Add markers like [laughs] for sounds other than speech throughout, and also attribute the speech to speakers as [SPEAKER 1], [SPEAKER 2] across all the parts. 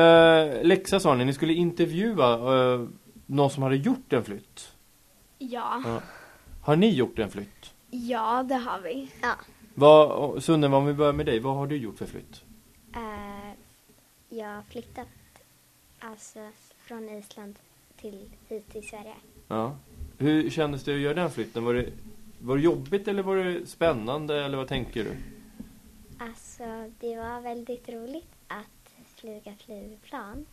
[SPEAKER 1] Eh, läxa sa ni, ni skulle intervjua eh, någon som hade gjort en flytt.
[SPEAKER 2] Ja.
[SPEAKER 1] Har ni gjort en flytt?
[SPEAKER 2] Ja, det har vi.
[SPEAKER 1] Vad, Sunnen, om vi börjar med dig, vad har du gjort för flytt?
[SPEAKER 3] Eh, jag har flyttat alltså från Island till hit till Sverige.
[SPEAKER 1] Ja. Hur kändes det att göra den flytten? Var det, var det jobbigt eller var det spännande eller vad tänker du?
[SPEAKER 3] Alltså det var väldigt roligt att flyga flygplan.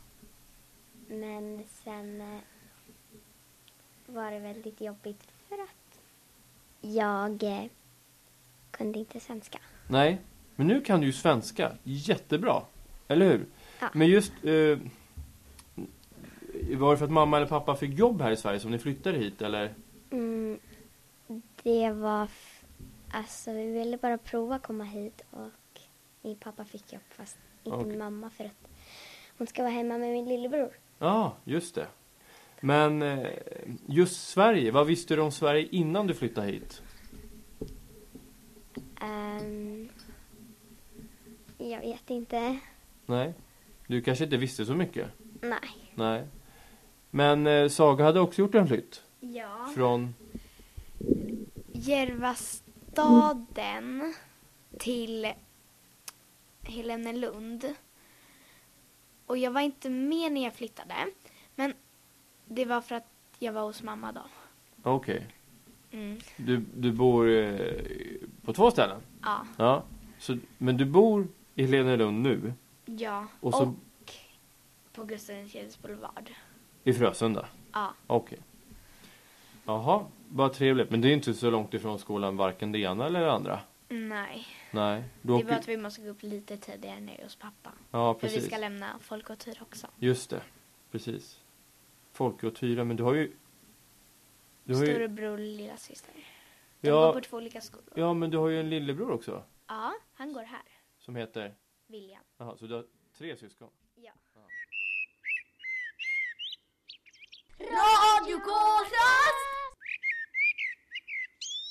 [SPEAKER 3] Men sen eh, var det väldigt jobbigt för att jag eh, kunde inte svenska.
[SPEAKER 1] Nej, men nu kan du ju svenska jättebra, eller hur?
[SPEAKER 3] Ja.
[SPEAKER 1] Men just, eh, var det för att mamma eller pappa fick jobb här i Sverige som ni flyttade hit eller?
[SPEAKER 3] Mm, det var... F- alltså, vi ville bara prova komma hit och min pappa fick jobb fast inte
[SPEAKER 1] Okej.
[SPEAKER 3] min mamma för att hon ska vara hemma med min lillebror.
[SPEAKER 1] Ja, just det. Men eh, just Sverige, vad visste du om Sverige innan du flyttade hit?
[SPEAKER 3] Ehm, jag vet inte.
[SPEAKER 1] Nej, du kanske inte visste så mycket?
[SPEAKER 3] Nej.
[SPEAKER 1] Nej. Men eh, Saga hade också gjort en flytt
[SPEAKER 2] Ja.
[SPEAKER 1] från
[SPEAKER 2] Järvastaden till Helenelund. Och jag var inte med när jag flyttade. Men det var för att jag var hos mamma då.
[SPEAKER 1] Okej.
[SPEAKER 2] Mm.
[SPEAKER 1] Du, du bor eh, på två ställen?
[SPEAKER 2] Ja.
[SPEAKER 1] Ja. Så, men du bor i Helenelund nu?
[SPEAKER 2] Ja.
[SPEAKER 1] Och så
[SPEAKER 2] på Gustav III:s boulevard.
[SPEAKER 1] i Frösunda?
[SPEAKER 2] Ja.
[SPEAKER 1] Okej. Jaha, vad trevligt. Men det är inte så långt ifrån skolan varken det ena eller det andra?
[SPEAKER 2] Nej.
[SPEAKER 1] Nej. Du
[SPEAKER 2] Det är
[SPEAKER 1] åker-
[SPEAKER 2] bara att vi måste gå upp lite tidigare nu hos pappa.
[SPEAKER 1] Ja,
[SPEAKER 2] För vi
[SPEAKER 1] precis.
[SPEAKER 2] ska lämna folk och tyra också.
[SPEAKER 1] Just det. Precis. Folke och Tyra, men du har ju... Du har ju...
[SPEAKER 2] Storebror och lilla syster. De går
[SPEAKER 1] Ja,
[SPEAKER 2] på två olika skolor.
[SPEAKER 1] ja, men du har ju en lillebror också.
[SPEAKER 2] Ja, han går här.
[SPEAKER 1] Som heter...
[SPEAKER 2] William.
[SPEAKER 1] Jaha, så du har tre syskon?
[SPEAKER 2] Ja.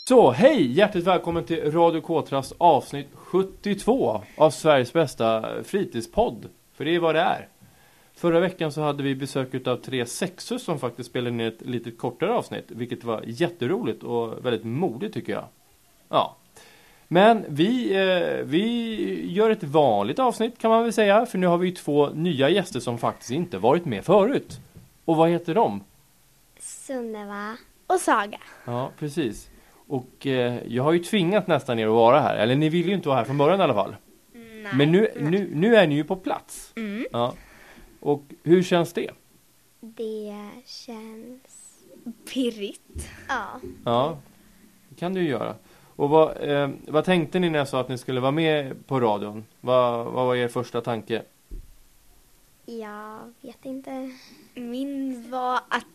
[SPEAKER 1] Så, hej! Hjärtligt välkommen till Radio Kåtras avsnitt 72 av Sveriges bästa fritidspodd. För det är vad det är. Förra veckan så hade vi besök av tre sexor som faktiskt spelade ner ett lite kortare avsnitt. Vilket var jätteroligt och väldigt modigt tycker jag. Ja. Men vi, eh, vi gör ett vanligt avsnitt kan man väl säga. För nu har vi ju två nya gäster som faktiskt inte varit med förut. Och vad heter de?
[SPEAKER 3] Sunneva.
[SPEAKER 2] Och Saga.
[SPEAKER 1] Ja, precis. Och eh, jag har ju tvingat nästan er att vara här. Eller ni ville ju inte vara här från början i alla fall.
[SPEAKER 2] Nej.
[SPEAKER 1] Men nu, nu, nu är ni ju på plats.
[SPEAKER 2] Mm.
[SPEAKER 1] Ja. Och hur känns det?
[SPEAKER 3] Det känns...
[SPEAKER 2] Pirrigt.
[SPEAKER 3] Ja.
[SPEAKER 1] Ja, det kan du ju göra. Och vad, eh, vad tänkte ni när jag sa att ni skulle vara med på radion? Vad, vad var er första tanke?
[SPEAKER 3] Jag vet inte.
[SPEAKER 2] Min var att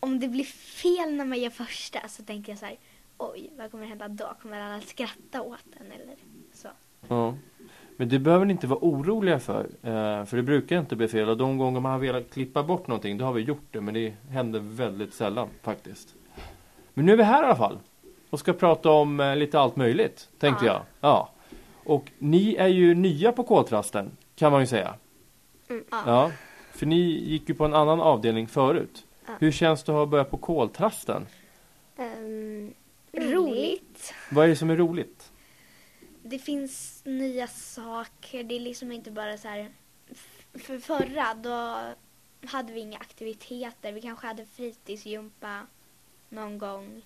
[SPEAKER 2] om det blir fel när man gör första så tänker jag så här. Oj, vad kommer hända då? Kommer alla skratta åt den eller så?
[SPEAKER 1] Ja. Men det behöver ni inte vara oroliga för. Eh, för det brukar inte bli fel. Och de gånger man har velat klippa bort någonting, då har vi gjort det. Men det händer väldigt sällan faktiskt. Men nu är vi här i alla fall. Och ska prata om eh, lite allt möjligt, tänkte
[SPEAKER 2] Ja.
[SPEAKER 1] jag. Ja. Och ni är ju nya på koltrasten, kan man ju säga.
[SPEAKER 2] Mm, ja.
[SPEAKER 1] Ja. För ni gick ju på en annan avdelning förut.
[SPEAKER 3] Ja.
[SPEAKER 1] Hur känns det att ha börjat på koltrasten?
[SPEAKER 3] Ehm,
[SPEAKER 2] Roligt.
[SPEAKER 1] Vad är det som är roligt?
[SPEAKER 2] Det finns nya saker. Det är liksom inte bara så här. f- För förra då hade vi inga aktiviteter. Vi kanske hade fritidsgympa någon gång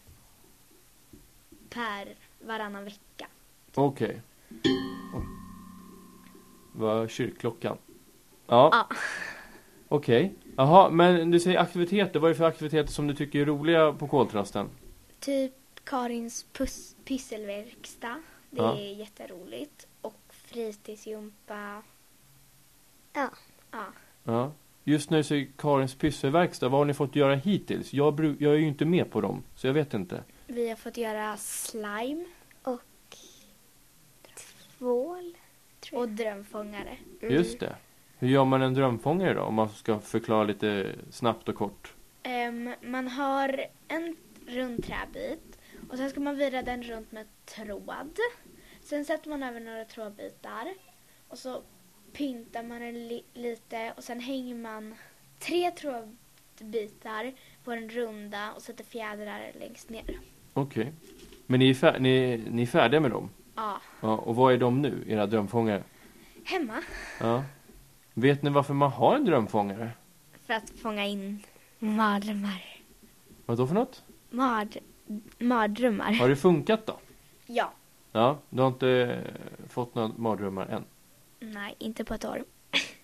[SPEAKER 2] per varannan vecka.
[SPEAKER 1] Okej. Oj. Vad kyrkklockan? Ja.
[SPEAKER 2] Ja.
[SPEAKER 1] Okej. Jaha, men du säger aktiviteter. Vad är det för aktiviteter som du tycker är roliga på koltrasten?
[SPEAKER 2] Typ Karins pus- pysselverkstad. Det
[SPEAKER 1] Ja.
[SPEAKER 2] är jätteroligt. Och fritidsgympa.
[SPEAKER 3] Ja.
[SPEAKER 2] Ja.
[SPEAKER 1] Ja. Just nu så är Karins pysselverkstad. Vad har ni fått göra hittills? Jag, bru- jag är ju inte med på dem, så jag vet inte.
[SPEAKER 2] Vi har fått göra slime
[SPEAKER 3] Tvål.
[SPEAKER 2] och drömfångare.
[SPEAKER 3] Mm.
[SPEAKER 1] Just det. Hur gör man en drömfångare då? Om man ska förklara lite snabbt och kort.
[SPEAKER 2] Ehm, man har en rund träbit och sen ska man vira den runt med tråd. Sen sätter man över några trådbitar och så pyntar man den li- lite och sen hänger man tre trådbitar på en runda och sätter fjädrar längst ner.
[SPEAKER 1] Okej. Men ni är, fär- ni, ni är färdiga med dem?
[SPEAKER 2] Ja.
[SPEAKER 1] Ja, och vad är de nu, era drömfångare?
[SPEAKER 2] Hemma
[SPEAKER 1] Ja. Vet ni varför man har en drömfångare?
[SPEAKER 2] för att fånga in mardrömmar.
[SPEAKER 1] Vad då för något?
[SPEAKER 2] Mard, mardrömmar.
[SPEAKER 1] Har det funkat då?
[SPEAKER 2] Ja.
[SPEAKER 1] Ja, du har inte eh, fått några mardrömmar än?
[SPEAKER 2] Nej, inte på ett år.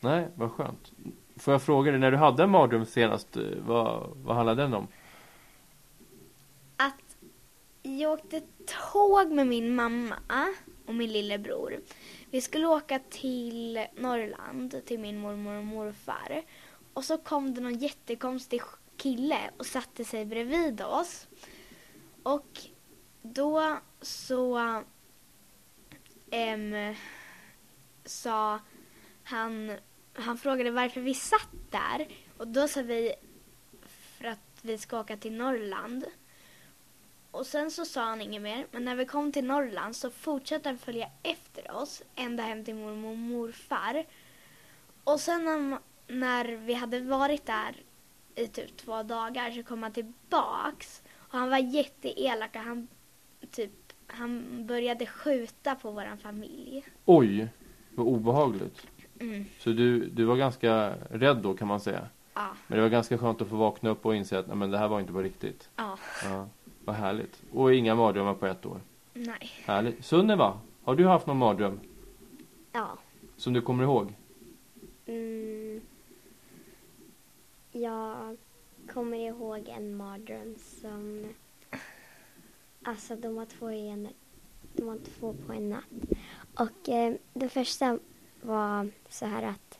[SPEAKER 1] Nej, vad skönt. Får jag fråga dig, när du hade en mardröm senast, eh, vad, vad handlade den om?
[SPEAKER 2] Att jag åkte tåg med min mamma och min lillebror. Vi skulle åka till Norrland, till min mormor och morfar. Och så kom det någon jättekonstig kille och satte sig bredvid oss. Och då så em, sa han, han frågade varför vi satt där. Och då sa vi för att vi ska åka till Norrland. Och sen så sa han inget mer, men när vi kom till Norrland så fortsatte han följa efter oss ända hem till mormor och morfar. Och sen när, när vi hade varit där i typ två dagar så kom han tillbaks och han var jätteelak och han typ han började skjuta på våran familj.
[SPEAKER 1] Oj, vad obehagligt.
[SPEAKER 2] Mm,
[SPEAKER 1] Så du, du var ganska rädd då kan man säga.
[SPEAKER 2] ja,
[SPEAKER 1] Men det var ganska skönt att få vakna upp och inse att nej, men det här var inte på riktigt.
[SPEAKER 2] ja,
[SPEAKER 1] Ja, vad härligt. Och inga mardrömmar på ett år.
[SPEAKER 2] nej,
[SPEAKER 1] Härligt. Sunneva, har du haft någon mardröm
[SPEAKER 3] Ja.
[SPEAKER 1] som du kommer ihåg?
[SPEAKER 3] Mm. Jag kommer ihåg en mardröm som... Alltså de var två i en... De var två på en natt. Och eh, det första var så här att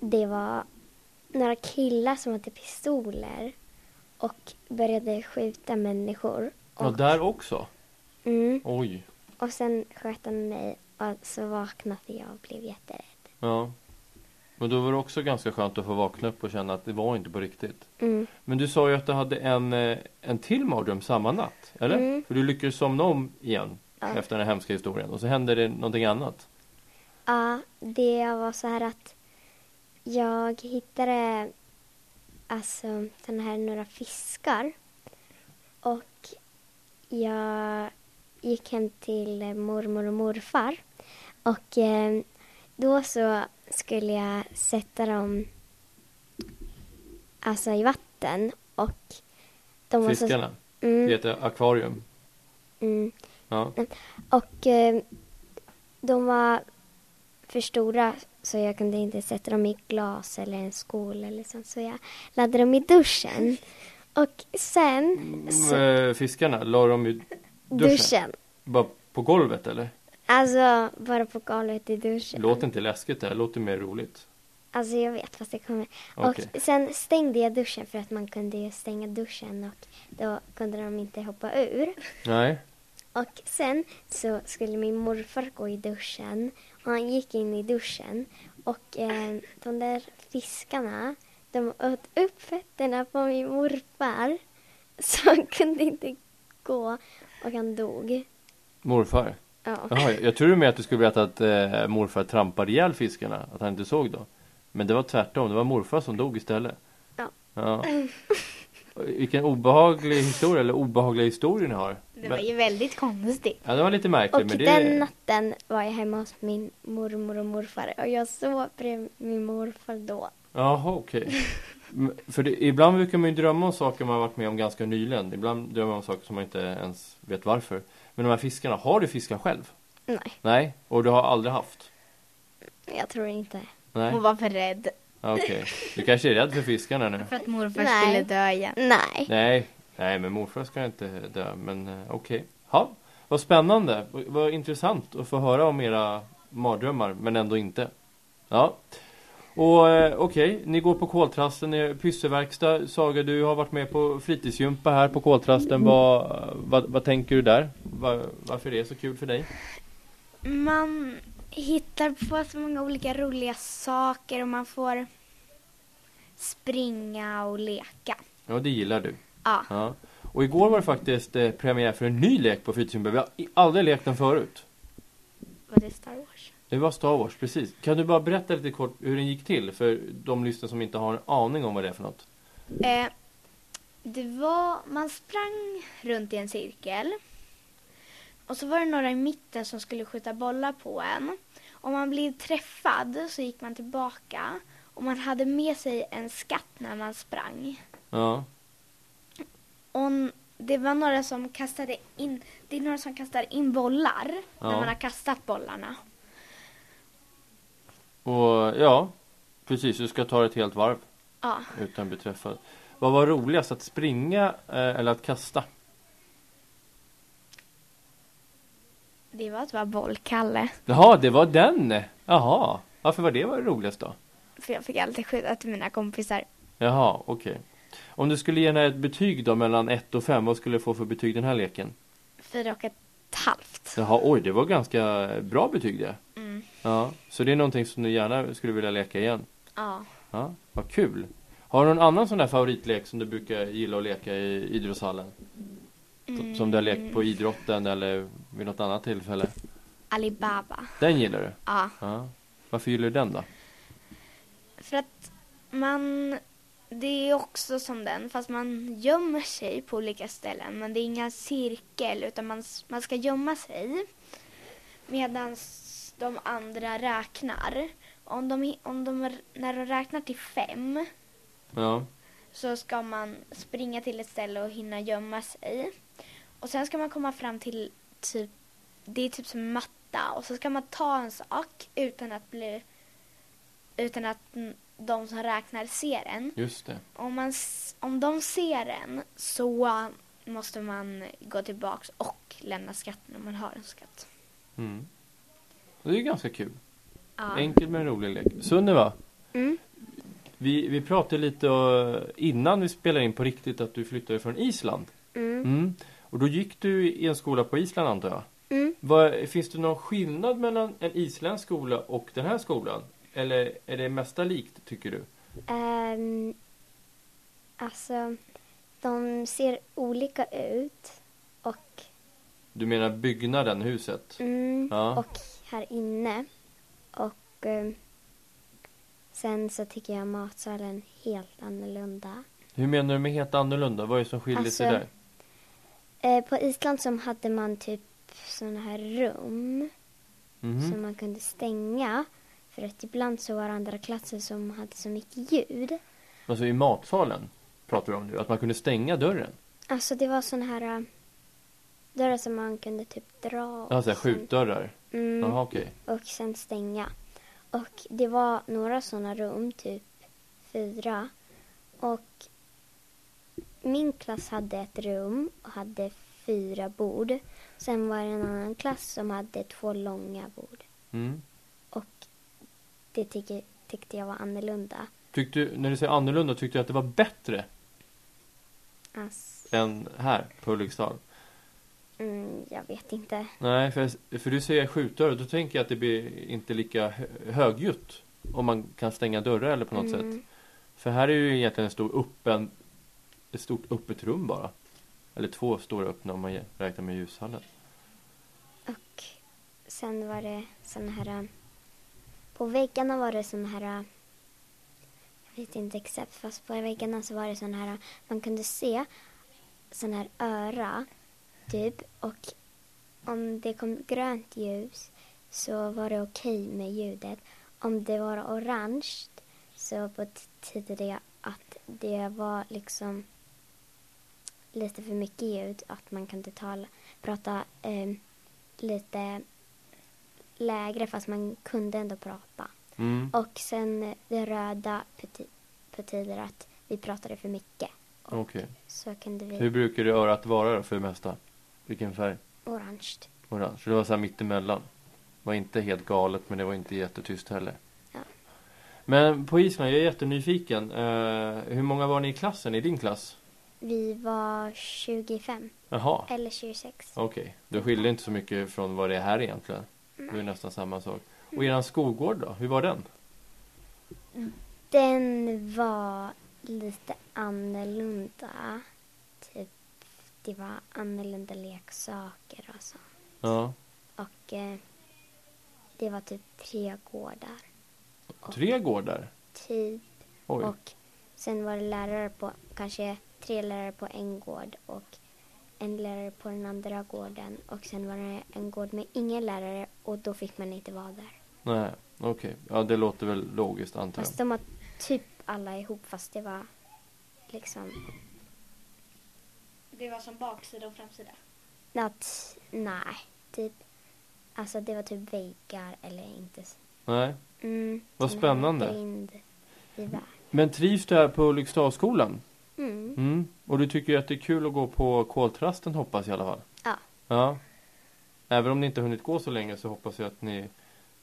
[SPEAKER 3] det var några killar som hade pistoler och började skjuta människor.
[SPEAKER 1] Ja,
[SPEAKER 3] Och,
[SPEAKER 1] där också?
[SPEAKER 3] mm,
[SPEAKER 1] Oj.
[SPEAKER 3] och sen sköt de mig och så vaknade jag och blev jätterädd.
[SPEAKER 1] Ja. Men då var det också ganska skönt att få vakna upp och känna att det var inte på riktigt.
[SPEAKER 3] Mm.
[SPEAKER 1] Men du sa ju att du hade en, eh, en till mardröm samma natt, eller?
[SPEAKER 3] Mm.
[SPEAKER 1] För du lyckades somna om igen
[SPEAKER 3] Ja.
[SPEAKER 1] efter den här hemska historien och så hände det någonting annat.
[SPEAKER 3] Ja, det var så här att jag hittade alltså den här några fiskar och jag gick hem till mormor och morfar och eh, då så skulle jag sätta dem alltså i vatten och de var
[SPEAKER 1] Fiskarna.
[SPEAKER 3] så...
[SPEAKER 1] Det
[SPEAKER 3] Mm,
[SPEAKER 1] heter akvarium.
[SPEAKER 3] mm.
[SPEAKER 1] Ja.
[SPEAKER 3] Och eh, de var för stora så jag kunde inte sätta dem i glas eller en skål eller sånt. Så jag laddade dem i duschen. Och sen
[SPEAKER 1] Mm, eh, fiskarna, la de i
[SPEAKER 3] duschen.
[SPEAKER 1] duschen? Bara på golvet eller?
[SPEAKER 3] Alltså bara på golvet i duschen.
[SPEAKER 1] Låter inte läskigt det här, låter mer roligt.
[SPEAKER 3] Alltså jag vet fast det kommer.
[SPEAKER 1] Okej.
[SPEAKER 3] Och sen stängde jag duschen för att man kunde ju stänga duschen och då kunde de inte hoppa ur.
[SPEAKER 1] Nej.
[SPEAKER 3] Och sen så skulle min morfar gå i duschen och han gick in i duschen och eh, de där fiskarna de åt upp fötterna på min morfar [laughs] så han kunde inte gå och han dog.
[SPEAKER 1] Morfar.
[SPEAKER 3] Ja.
[SPEAKER 1] Jaha, jag, jag tror med att du skulle berätta att eh, morfar trampade ihjäl fiskarna, att han inte såg dem. Men det var tvärtom, det var morfar som dog istället.
[SPEAKER 3] Ja.
[SPEAKER 1] ja. Vilken obehaglig historia, eller obehagliga historier ni har.
[SPEAKER 2] det var
[SPEAKER 1] Men-
[SPEAKER 2] ju väldigt konstigt.
[SPEAKER 1] Ja, det var lite märkligt.
[SPEAKER 3] Och
[SPEAKER 1] men det...
[SPEAKER 3] den natten var jag hemma hos min mormor och morfar och jag sov bredvid min morfar då.
[SPEAKER 1] Jaha, okej. Men- För det, ibland brukar man ju drömma om saker man har varit med om ganska nyligen. Ibland drömmer man om saker som man inte ens vet varför. Men de här fiskarna, har du fiskar själv?
[SPEAKER 3] Nej,
[SPEAKER 1] Nej, och du har aldrig haft?
[SPEAKER 3] jag tror inte.
[SPEAKER 1] Nej,
[SPEAKER 2] Hon
[SPEAKER 3] Mm.
[SPEAKER 2] var för rädd
[SPEAKER 1] Ja, okej. Du kanske är rädd för fiskarna nu?
[SPEAKER 2] för att morfar
[SPEAKER 3] Nej.
[SPEAKER 2] skulle dö igen.
[SPEAKER 3] Nej.
[SPEAKER 1] Nej, nej men morfar ska inte dö. Men eh, okej. Ja, vad spännande. Vad- Vad intressant att få höra om era mardrömmar, men ändå inte. Ja. Och eh, okej, ni går på koltrasten, ni har pysselverkstad. Saga, du har varit med på fritidsgympa här på koltrasten. Vad, vad, vad tänker du där? Var, varför är det så kul för dig?
[SPEAKER 2] Man hittar på så många olika roliga saker och man får springa och leka.
[SPEAKER 1] Ja, det gillar du.
[SPEAKER 2] Ja,
[SPEAKER 1] Ja. Och igår var det faktiskt eh, premiär för en ny lek på fritidsgympa. Vi har i- aldrig lekt den förut.
[SPEAKER 2] var det Star Wars?
[SPEAKER 1] Det var Star Wars, precis. Kan du bara berätta lite kort hur den gick till för de lyssnare som inte har en aning om vad det är för något?
[SPEAKER 2] Eh, det var, man sprang runt i en cirkel. Och så var det några i mitten som skulle skjuta bollar på en. Om man blev träffad så gick man tillbaka och man hade med sig en skatt när man sprang.
[SPEAKER 1] Ja.
[SPEAKER 2] Och n- det var några som kastade in, det är några som kastar in bollar
[SPEAKER 1] Ja.
[SPEAKER 2] när man har kastat bollarna.
[SPEAKER 1] Och ja, precis. Du ska ta ett helt varv
[SPEAKER 2] Ja.
[SPEAKER 1] utan att bli träffad. Vad var roligast, att springa eh, eller att kasta?
[SPEAKER 2] Det var att vara bollkalle.
[SPEAKER 1] Jaha, det var den! Jaha, varför var det var roligast då?
[SPEAKER 2] För jag fick alltid skjuta till mina kompisar.
[SPEAKER 1] Jaha, okej. Om du skulle ge den här ett betyg då mellan 1 och 5, vad skulle du få för betyg den här leken?
[SPEAKER 2] Fyra och ett halvt.
[SPEAKER 1] Jaha, oj, det var ganska bra betyg det.
[SPEAKER 2] Mm.
[SPEAKER 1] Ja, så det är någonting som du gärna skulle vilja leka igen?
[SPEAKER 2] Ja.
[SPEAKER 1] Ja, vad kul! Har du någon annan sån där favoritlek som du brukar gilla att leka i idrottshallen? Som- Som du har lekt på idrotten eller vid något annat tillfälle?
[SPEAKER 2] Alibaba.
[SPEAKER 1] Den gillar du?
[SPEAKER 2] Ja.
[SPEAKER 1] Ja. Varför gillar du den då?
[SPEAKER 2] För att man... Det är också som den, fast man gömmer sig på olika ställen. Men det är ingen cirkel, utan man, s- man ska gömma sig medan de andra räknar. Om de, hi- om de, r- när de räknar till fem
[SPEAKER 1] Ja,
[SPEAKER 2] så ska man springa till ett ställe och hinna gömma sig. Och sen ska man komma fram till typ, det är typ som en matta och så ska man ta en sak utan att bli, utan att mm, de som räknar ser den.
[SPEAKER 1] just det.
[SPEAKER 2] Om, man, s- om de ser den så måste man gå tillbaks och lämna skatten om man har en skatt.
[SPEAKER 1] Mm. Det är ju ganska kul.
[SPEAKER 2] Ja.
[SPEAKER 1] Enkel men rolig lek. Sunniva,
[SPEAKER 3] Mm.
[SPEAKER 1] vi, vi pratade lite eh, innan vi spelade in på riktigt att du flyttade från Island.
[SPEAKER 3] Mm.
[SPEAKER 1] Mm. Och då gick du i en skola på Island antar jag?
[SPEAKER 3] Mm.
[SPEAKER 1] Vad, finns det någon skillnad mellan en isländsk skola och den här skolan? Eller är det mesta likt tycker du?
[SPEAKER 3] Ehm, alltså, de ser olika ut. Och,
[SPEAKER 1] Du menar byggnaden, huset?
[SPEAKER 3] mm,
[SPEAKER 1] Ja.
[SPEAKER 3] och här inne. Och ehm, sen så tycker jag matsalen helt annorlunda.
[SPEAKER 1] Hur menar du med helt annorlunda? Vad är det som skiljer sig
[SPEAKER 3] Alltså-
[SPEAKER 1] där?
[SPEAKER 3] Eh, på Island så hade man typ sådana här rum
[SPEAKER 1] Mhm.
[SPEAKER 3] som man kunde stänga. För att ibland så var det andra klasser som hade så mycket ljud.
[SPEAKER 1] Alltså i matsalen pratar du om nu, att man kunde stänga dörren?
[SPEAKER 3] Alltså det var sådana här eh, dörrar som man kunde typ dra.
[SPEAKER 1] Ja, så här
[SPEAKER 3] och sen-
[SPEAKER 1] Alltså, skjutdörrar?
[SPEAKER 3] Mm,
[SPEAKER 1] Jaha, okej.
[SPEAKER 3] och sen stänga. Och det var några sådana rum, typ fyra. Och min klass hade ett rum och hade fyra bord. Sen var det en annan klass som hade två långa bord.
[SPEAKER 1] Mm.
[SPEAKER 3] Och det tycker, tyckte jag var annorlunda.
[SPEAKER 1] Tyckte du, när du säger annorlunda, tyckte du att det var bättre
[SPEAKER 3] Alltså,
[SPEAKER 1] än här på Ulriksdal?
[SPEAKER 3] mm, jag vet inte.
[SPEAKER 1] Nej, för, för du säger skjutdörrar, då tänker jag att det blir inte lika hö- högljutt om man kan stänga dörrar eller på något
[SPEAKER 3] Mm.
[SPEAKER 1] sätt. För här är ju egentligen en stor öppen, ett stort öppet rum bara. Eller två stora öppna om man jä- räknar med ljushallen.
[SPEAKER 3] Och sen var det såna här... äh, På väggarna var det såna här... äh, Jag vet inte exakt, fast på väggarna så var det såna här... äh, Man kunde se såna här öra, typ. Och om det kom grönt ljus så var det okej med ljudet. Om det var orange så betydde det att det var liksom lite för mycket ljud, att man kunde tala, prata ehm, lite lägre fast man kunde ändå prata.
[SPEAKER 1] Mm.
[SPEAKER 3] Och sen det röda bety- betyder att vi pratade för mycket.
[SPEAKER 1] Okej.
[SPEAKER 3] Så kunde
[SPEAKER 1] Hur
[SPEAKER 3] vi
[SPEAKER 1] brukar det örat vara då för det mesta? Vilken färg?
[SPEAKER 3] orange.
[SPEAKER 1] Orange. Så det var så här mittemellan. Det var inte helt galet men det var inte jättetyst heller.
[SPEAKER 3] Ja.
[SPEAKER 1] Men på Island, jag är jättenyfiken. Eh, hur många var ni i klassen, i din klass?
[SPEAKER 3] Vi var 25
[SPEAKER 1] Jaha,
[SPEAKER 3] eller 26.
[SPEAKER 1] okej. Det skiljer inte så mycket från vad det är här egentligen. Det är nästan samma sak. Och eran skolgård då, hur var den?
[SPEAKER 3] Den var lite annorlunda. Typ, det var annorlunda leksaker och så.
[SPEAKER 1] Ja.
[SPEAKER 3] Och eh,
[SPEAKER 4] det var typ tre gårdar.
[SPEAKER 1] Tre gårdar?
[SPEAKER 4] Typ.
[SPEAKER 1] Oj.
[SPEAKER 4] Och sen var det lärare på, kanske tre lärare på en gård och en lärare på den andra gården. Och sen var det en gård med ingen lärare och då fick man inte vara där.
[SPEAKER 1] Nej, okej. Ja, det låter väl logiskt antar jag.
[SPEAKER 4] Fast de var typ alla ihop fast det var liksom,
[SPEAKER 5] Det var som baksida och framsida.
[SPEAKER 4] att, nej, typ. Alltså det var typ väggar eller inte. s-
[SPEAKER 1] Nej.
[SPEAKER 4] Mm,
[SPEAKER 1] Vad
[SPEAKER 4] sån här
[SPEAKER 1] spännande.
[SPEAKER 4] Grind i vä-
[SPEAKER 1] Men trivs du här på Ulriksdalsskolan?
[SPEAKER 4] Mm.
[SPEAKER 1] Mm. Och du tycker ju att det är kul att gå på koltrasten hoppas jag i alla fall?
[SPEAKER 4] Ja.
[SPEAKER 1] Ja. Även om ni inte har hunnit gå så länge så hoppas jag att ni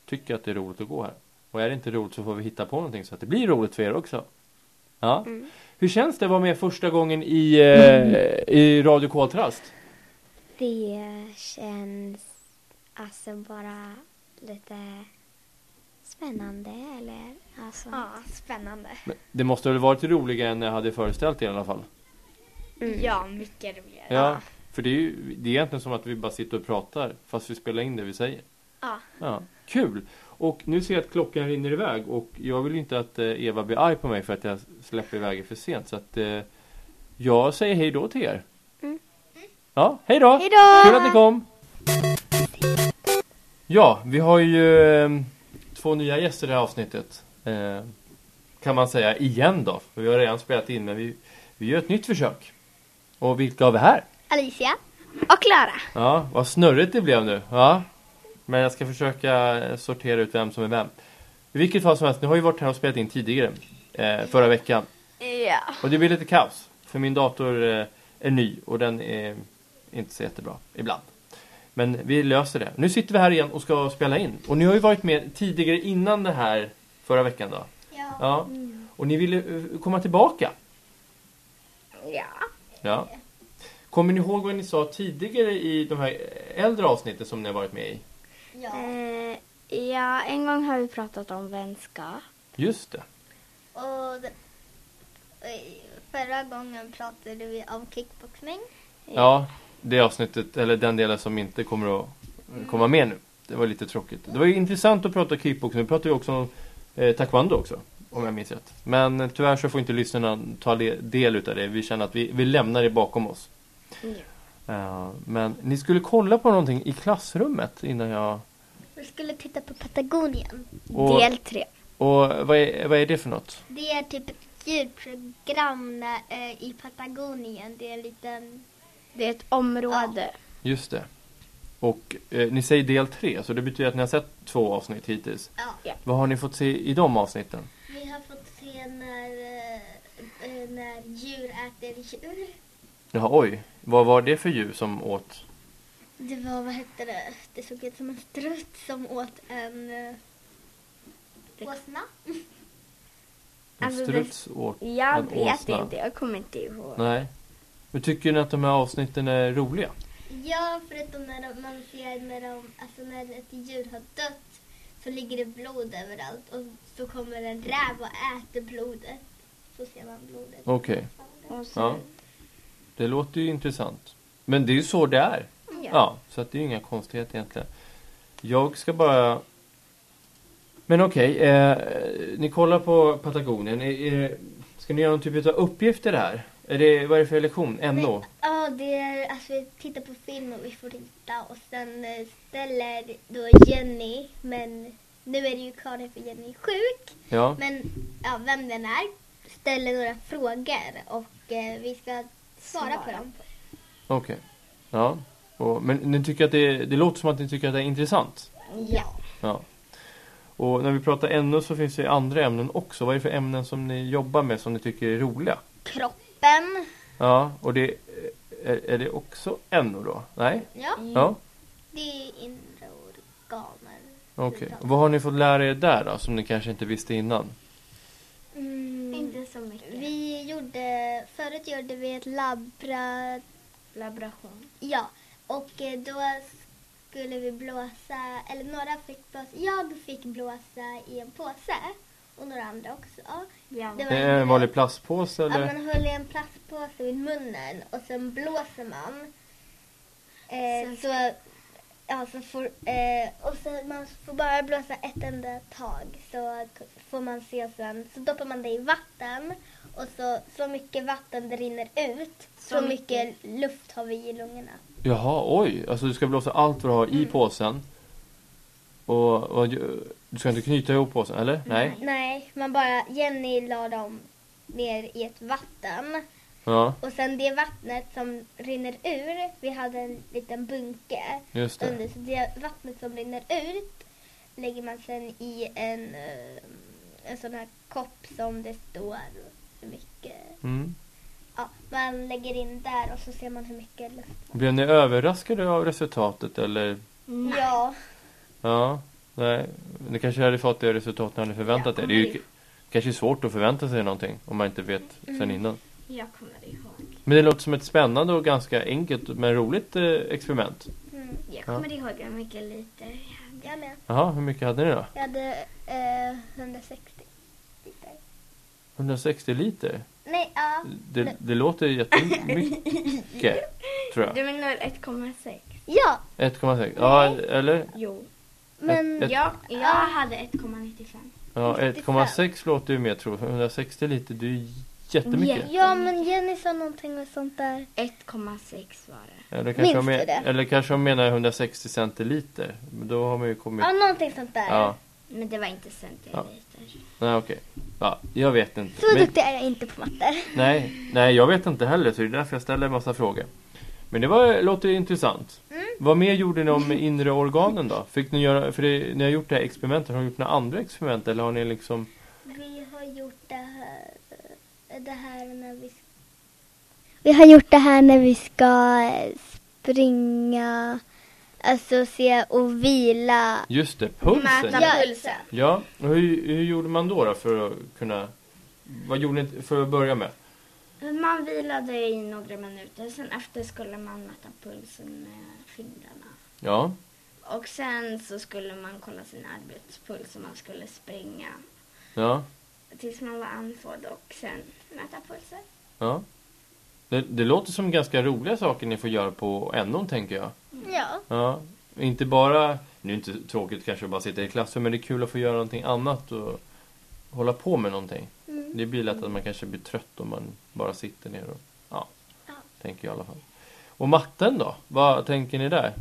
[SPEAKER 1] tycker att det är roligt att gå här. Och är det inte roligt så får vi hitta på någonting så att det blir roligt för er också. Ja.
[SPEAKER 4] Mm.
[SPEAKER 1] Hur känns det att vara med första gången i, eh, i Radio Koltrast?
[SPEAKER 4] Det känns alltså bara lite spännande eller alltså.
[SPEAKER 2] Mm.
[SPEAKER 5] Ja, spännande.
[SPEAKER 1] Men det måste väl varit roligare än jag hade föreställt er i alla fall?
[SPEAKER 4] Mm.
[SPEAKER 5] Ja, mycket roligare.
[SPEAKER 1] Ja. För det är ju det är egentligen som att vi bara sitter och pratar fast vi spelar in det vi säger.
[SPEAKER 5] Ja.
[SPEAKER 1] Ja, kul! Och nu ser jag att klockan rinner iväg och jag vill ju inte att eh, Eva blir arg på mig för att jag släpper iväg er för sent så att eh, jag säger hej då till er.
[SPEAKER 4] Mm.
[SPEAKER 1] Ja, hej då!
[SPEAKER 5] Hej då!
[SPEAKER 1] Kul att ni kom! Ja, vi har ju eh, två nya gäster i det här avsnittet. Eh, kan man säga igen då, för vi har redan spelat in men vi, vi gör ett nytt försök. Och vilka har vi här?
[SPEAKER 5] Alicia. Och Klara.
[SPEAKER 1] Ja, vad snurrigt det blev nu. Ja. Men jag ska försöka eh, sortera ut vem som är vem. I vilket fall som helst, ni har ju varit här och spelat in tidigare. Eh, förra veckan.
[SPEAKER 5] Ja.
[SPEAKER 1] Och det blir lite kaos. För min dator eh, är ny och den är inte så jättebra ibland. Men vi löser det. Nu sitter vi här igen och ska spela in. Och ni har ju varit med tidigare innan det här förra veckan då.
[SPEAKER 5] Ja.
[SPEAKER 1] Ja. Och ni ville eh, komma tillbaka.
[SPEAKER 5] Ja.
[SPEAKER 1] Ja. Kommer ni ihåg vad ni sa tidigare i de här eh, äldre avsnitten som ni har varit med i?
[SPEAKER 2] Eh, ja, en gång har vi pratat om vänskap.
[SPEAKER 1] Just det.
[SPEAKER 3] Och det- eh, förra gången pratade vi om kickboxning.
[SPEAKER 1] Ja, det avsnittet, eller den delen som inte kommer att eh, komma med nu. Det var lite tråkigt. Det var ju intressant att prata kickboxing. Vi pratade ju också om eh, taekwondo också, om jag minns rätt. Men eh, tyvärr så får inte lyssnarna ta le- del utav det. Vi känner att vi, vi lämnar det bakom oss. Eh, men ni skulle kolla på någonting i klassrummet innan jag...
[SPEAKER 3] Vi skulle titta på Patagonien.
[SPEAKER 1] Och,
[SPEAKER 2] Del tre.
[SPEAKER 1] och vad, är, vad är det för något?
[SPEAKER 3] Det är typ ett djurprogram när, eh, i Patagonien. Det är en liten...
[SPEAKER 2] Det är ett område.
[SPEAKER 1] Just det. Och eh, ni säger del tre, så det betyder att ni har sett två avsnitt hittills.
[SPEAKER 3] Ja.
[SPEAKER 1] Vad har ni fått se i de avsnitten?
[SPEAKER 3] Vi har fått se när, eh, eh, när djur äter djur.
[SPEAKER 1] Jaha, oj. Vad var det för djur som åt?
[SPEAKER 3] Det var, vad hette det? Det såg ut som en strutt som åt en... eh, Åsna?
[SPEAKER 1] En
[SPEAKER 2] Alltså, det-
[SPEAKER 1] struts åt
[SPEAKER 2] Jag
[SPEAKER 1] en
[SPEAKER 2] vet
[SPEAKER 1] åsna?
[SPEAKER 2] inte, jag kommer inte ihåg.
[SPEAKER 1] Nej. Men tycker ni att de här avsnitten är roliga?
[SPEAKER 3] Ja, förutom när de, man ser när, de, alltså när ett djur har dött så ligger det blod överallt och så kommer en räv och äter blodet. Så ser man blodet.
[SPEAKER 1] Okej.
[SPEAKER 2] Och sen,
[SPEAKER 1] Ja. Det låter ju intressant. Men det är ju så det är.
[SPEAKER 2] Ja.
[SPEAKER 1] Ja, så att det är ju inga konstigheter egentligen. Jag ska bara... Men okej, eh, ni kollar på Patagonien. Är, är, det- ska ni göra någon typ av uppgifter här? Är det, vad är det för lektion? NO?
[SPEAKER 3] Ja, det är, alltså vi tittar på film och vi får titta och sen eh, ställer då Jenny, men nu är det ju Karin för Jenny är sjuk,
[SPEAKER 1] Ja.
[SPEAKER 3] men ja, vem den är, ställer några frågor och eh, vi ska svara på
[SPEAKER 2] Svara.
[SPEAKER 3] dem.
[SPEAKER 1] Okej. Ja. Och, men ni tycker att det, det låter som att ni tycker att det är intressant?
[SPEAKER 3] Ja.
[SPEAKER 1] Ja. Och när vi pratar NO så finns det andra ämnen också. Vad är det för ämnen som ni jobbar med som ni tycker är roliga?
[SPEAKER 3] Kroppen.
[SPEAKER 1] Ja, och det... eh, Är, är det också NO då? Nej?
[SPEAKER 3] Ja.
[SPEAKER 1] Ja,
[SPEAKER 3] Det är inre organen.
[SPEAKER 1] okej. Vad har ni fått lära er där då, som ni kanske inte visste innan?
[SPEAKER 2] Mm, Inte så mycket.
[SPEAKER 3] Vi gjorde, förut gjorde vi ett labbra,
[SPEAKER 2] Laboration.
[SPEAKER 3] ja, och eh, då skulle vi blåsa, eller några fick blåsa, jag fick blåsa i en påse och några andra också.
[SPEAKER 2] Ja.
[SPEAKER 3] Det var-
[SPEAKER 1] Det är en vanlig plastpåse
[SPEAKER 3] Ja,
[SPEAKER 1] eller?
[SPEAKER 3] man höll i en plastpåse vid munnen och sen blåser man. Eh,
[SPEAKER 2] Sen
[SPEAKER 3] så, Ja, så får, eh, och så man får bara blåsa ett enda tag så k- får man se sen. Så doppar man det i vatten och så, så mycket vatten det rinner ut, så, mycket. luft har vi i lungorna.
[SPEAKER 1] Jaha, oj. Alltså du ska blåsa allt vad du har i påsen. Och, och du ska inte knyta ihop påsen, eller? Nej.
[SPEAKER 3] Nej, man bara, Jenny la dem ner i ett vatten
[SPEAKER 1] Ja,
[SPEAKER 3] och sen det vattnet som rinner ur, vi hade en liten bunke
[SPEAKER 1] just det.
[SPEAKER 3] under så det vattnet som rinner ut lägger man sen i en, eh, en sån här kopp som det står hur mycket.
[SPEAKER 1] Mm.
[SPEAKER 3] Ja, man lägger in där och så ser man hur mycket luft.
[SPEAKER 1] Blev ni överraskade av resultatet eller?
[SPEAKER 2] Mm.
[SPEAKER 3] Ja,
[SPEAKER 1] Ja. Nej. Ni kanske hade fått det resultat ni hade förväntat er. Det är ju k- kanske svårt att förvänta sig någonting om man inte vet
[SPEAKER 3] Mm.
[SPEAKER 1] sen innan.
[SPEAKER 2] Jag kommer ihåg.
[SPEAKER 1] Men det låter som ett spännande och ganska enkelt men roligt eh, experiment.
[SPEAKER 3] mm.
[SPEAKER 2] Jag kommer ihåg hur mycket liter.
[SPEAKER 3] jag med.
[SPEAKER 1] Jaha, hur mycket hade ni då?
[SPEAKER 3] Jag hade eh, 160 liter.
[SPEAKER 1] 160 liter?
[SPEAKER 3] Nej, ja.
[SPEAKER 1] Det, det låter jättemycket,
[SPEAKER 3] [laughs]
[SPEAKER 1] tror jag.
[SPEAKER 2] Du menar 1,6?
[SPEAKER 3] Ja,
[SPEAKER 1] 1,6. Ja, eller?
[SPEAKER 2] Jo.
[SPEAKER 3] men
[SPEAKER 1] Ett- ett-
[SPEAKER 2] Ja, jag hade 1,95.
[SPEAKER 1] Ja,
[SPEAKER 3] 95.
[SPEAKER 1] 1,6 låter ju mer tror jag. 160 liter, det är ju jättemycket.
[SPEAKER 3] ja, men Jenny sa någonting och sånt där.
[SPEAKER 2] 1,6 var det.
[SPEAKER 1] Eller
[SPEAKER 3] Minns
[SPEAKER 1] kanske, de,
[SPEAKER 3] du det?
[SPEAKER 1] men- eller kanske de menar 160 centiliter. Men då har man ju kommit...
[SPEAKER 3] Ja, någonting sånt där.
[SPEAKER 1] Ja,
[SPEAKER 2] Men det var inte centiliter.
[SPEAKER 1] nej okej. Ja, jag vet inte.
[SPEAKER 3] Så
[SPEAKER 1] Men,
[SPEAKER 3] duktig är jag inte på matte.
[SPEAKER 1] nej, nej, jag vet inte heller så det är därför jag ställer en massa frågor. Men det var, låter ju intressant. Vad mer gjorde ni om inre organen då? Fick ni göra, för det, ni har gjort det här experimentet, har ni gjort några andra experiment eller har ni liksom...
[SPEAKER 3] Vi har gjort det här, det här när vi
[SPEAKER 6] Vi har gjort det här när vi ska eh, springa, alltså se och vila.
[SPEAKER 1] Just det, pulsen!
[SPEAKER 2] Mäta pulsen.
[SPEAKER 1] Ja, och hur, hur gjorde man då, då för att kunna... Vad gjorde ni för att börja med?
[SPEAKER 2] Man vilade i några minuter, sen efter skulle man mäta pulsen med fingrarna.
[SPEAKER 1] Ja,
[SPEAKER 2] Och sen så skulle man kolla sin arbetspuls och man skulle springa
[SPEAKER 1] ja,
[SPEAKER 2] tills man var andfådd och sen mäta pulsen.
[SPEAKER 1] ja. Det, det låter som ganska roliga saker ni får göra på NOn, tänker jag.
[SPEAKER 2] Mm.
[SPEAKER 3] Ja.
[SPEAKER 1] Ja, inte bara... Nu är det inte tråkigt kanske att bara sitta i klassrum, men det är kul att få göra någonting annat och hålla på med någonting.
[SPEAKER 2] Mm.
[SPEAKER 1] Det blir lätt att man kanske blir trött om man bara sitter ner och... Ja, tänker jag i alla fall. Och matten då? Vad tänker ni där?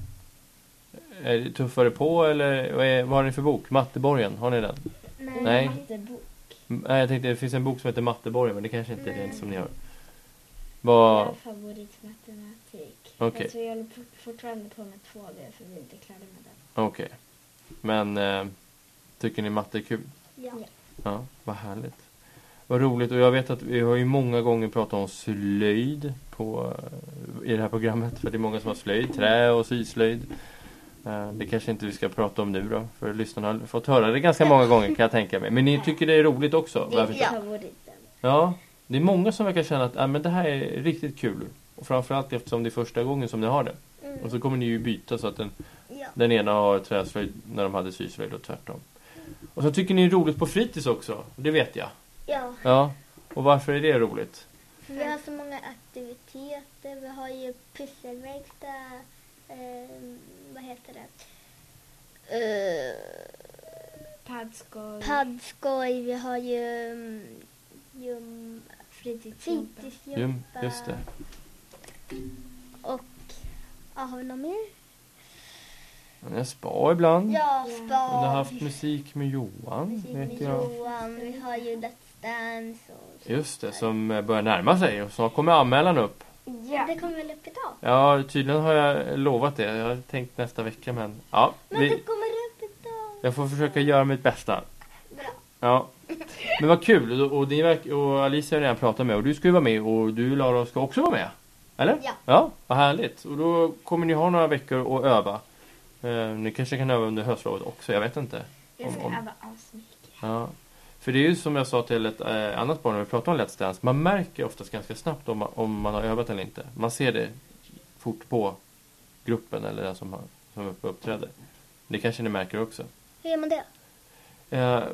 [SPEAKER 1] Är det tuffare på eller vad, är, vad har ni för bok? Matteborgen, har ni den?
[SPEAKER 3] Nej.
[SPEAKER 1] Nej. M- Nej, jag tänkte det finns en bok som heter Matteborgen, men det kanske inte är den som ni har. Vad...
[SPEAKER 2] Min favorit matematik.
[SPEAKER 1] Okej.
[SPEAKER 2] Fast vi håller på- fortfarande på med 2D för vi är inte klara med den.
[SPEAKER 1] Okej. Men eh, tycker ni matte är kul?
[SPEAKER 3] Ja.
[SPEAKER 1] Ja, vad härligt. Vad roligt och jag vet att vi har ju många gånger pratat om slöjd på, eh, i det här programmet. För det är många som har slöjd, trä och syslöjd. Eh, Det kanske inte vi ska prata om nu då, för lyssnarna har fått höra det ganska många gånger kan jag tänka mig. Men ni tycker det är roligt också? vad jag förstår.
[SPEAKER 2] favoriten.
[SPEAKER 1] Ja, det är många som verkar känna att ah, men det här är riktigt kul. Och framförallt eftersom det är första gången som ni har det. Och så kommer ni ju byta så att den,
[SPEAKER 3] Ja.
[SPEAKER 1] den ena har träslöjd när de hade syslöjd och tvärtom. Och så tycker ni det är roligt på fritids också, det vet jag.
[SPEAKER 3] ja.
[SPEAKER 1] Ja, och varför är det roligt?
[SPEAKER 3] För vi har så många aktiviteter. Vi har ju pusselverkstad. Eh, vad heter det? Eh,
[SPEAKER 2] Paddskoj.
[SPEAKER 3] paddskoj. Vi har ju mm, gym,
[SPEAKER 2] Fritidsgympa.
[SPEAKER 1] Jum,
[SPEAKER 3] fritidsgympa.
[SPEAKER 1] just det.
[SPEAKER 3] Och ja, har vi något mer?
[SPEAKER 1] Men jag spa ibland.
[SPEAKER 3] Ja,
[SPEAKER 2] Ja.
[SPEAKER 1] Ni har
[SPEAKER 3] spa.
[SPEAKER 1] haft musik med Johan,
[SPEAKER 3] Musik
[SPEAKER 1] vet
[SPEAKER 3] med
[SPEAKER 1] jag.
[SPEAKER 3] Johan. Vi har ju Let's Dance. Och så.
[SPEAKER 1] Just det, som eh, börjar närma sig och snart kommer anmälan upp.
[SPEAKER 2] Ja.
[SPEAKER 3] Det kommer väl upp idag?
[SPEAKER 1] Ja, tydligen har jag lovat det. Jag har tänkt nästa vecka men... Ja,
[SPEAKER 3] Men
[SPEAKER 1] vi-
[SPEAKER 3] det kommer upp idag.
[SPEAKER 1] Jag får försöka göra mitt bästa. Ja. Men vad kul. Och, och, ni verk, och Alicia har jag redan pratat med och du ska ju vara med och du Lara ska också vara med. Eller?
[SPEAKER 3] Ja.
[SPEAKER 1] Ja, vad härligt. Och då kommer ni ha några veckor att öva. Eh, ni kanske kan öva under höstlovet också, jag vet inte.
[SPEAKER 2] Jag ska
[SPEAKER 1] Om- om-
[SPEAKER 2] öva asmycket.
[SPEAKER 1] Ja. För det är ju som jag sa till ett eh, annat barn när vi pratade om Let's Dance. Man märker oftast ganska snabbt om man, om man har övat eller inte. Man ser det fort på gruppen eller den som, har, som upp- uppträder. Det kanske ni märker också.
[SPEAKER 3] Hur gör man det?
[SPEAKER 1] Eh,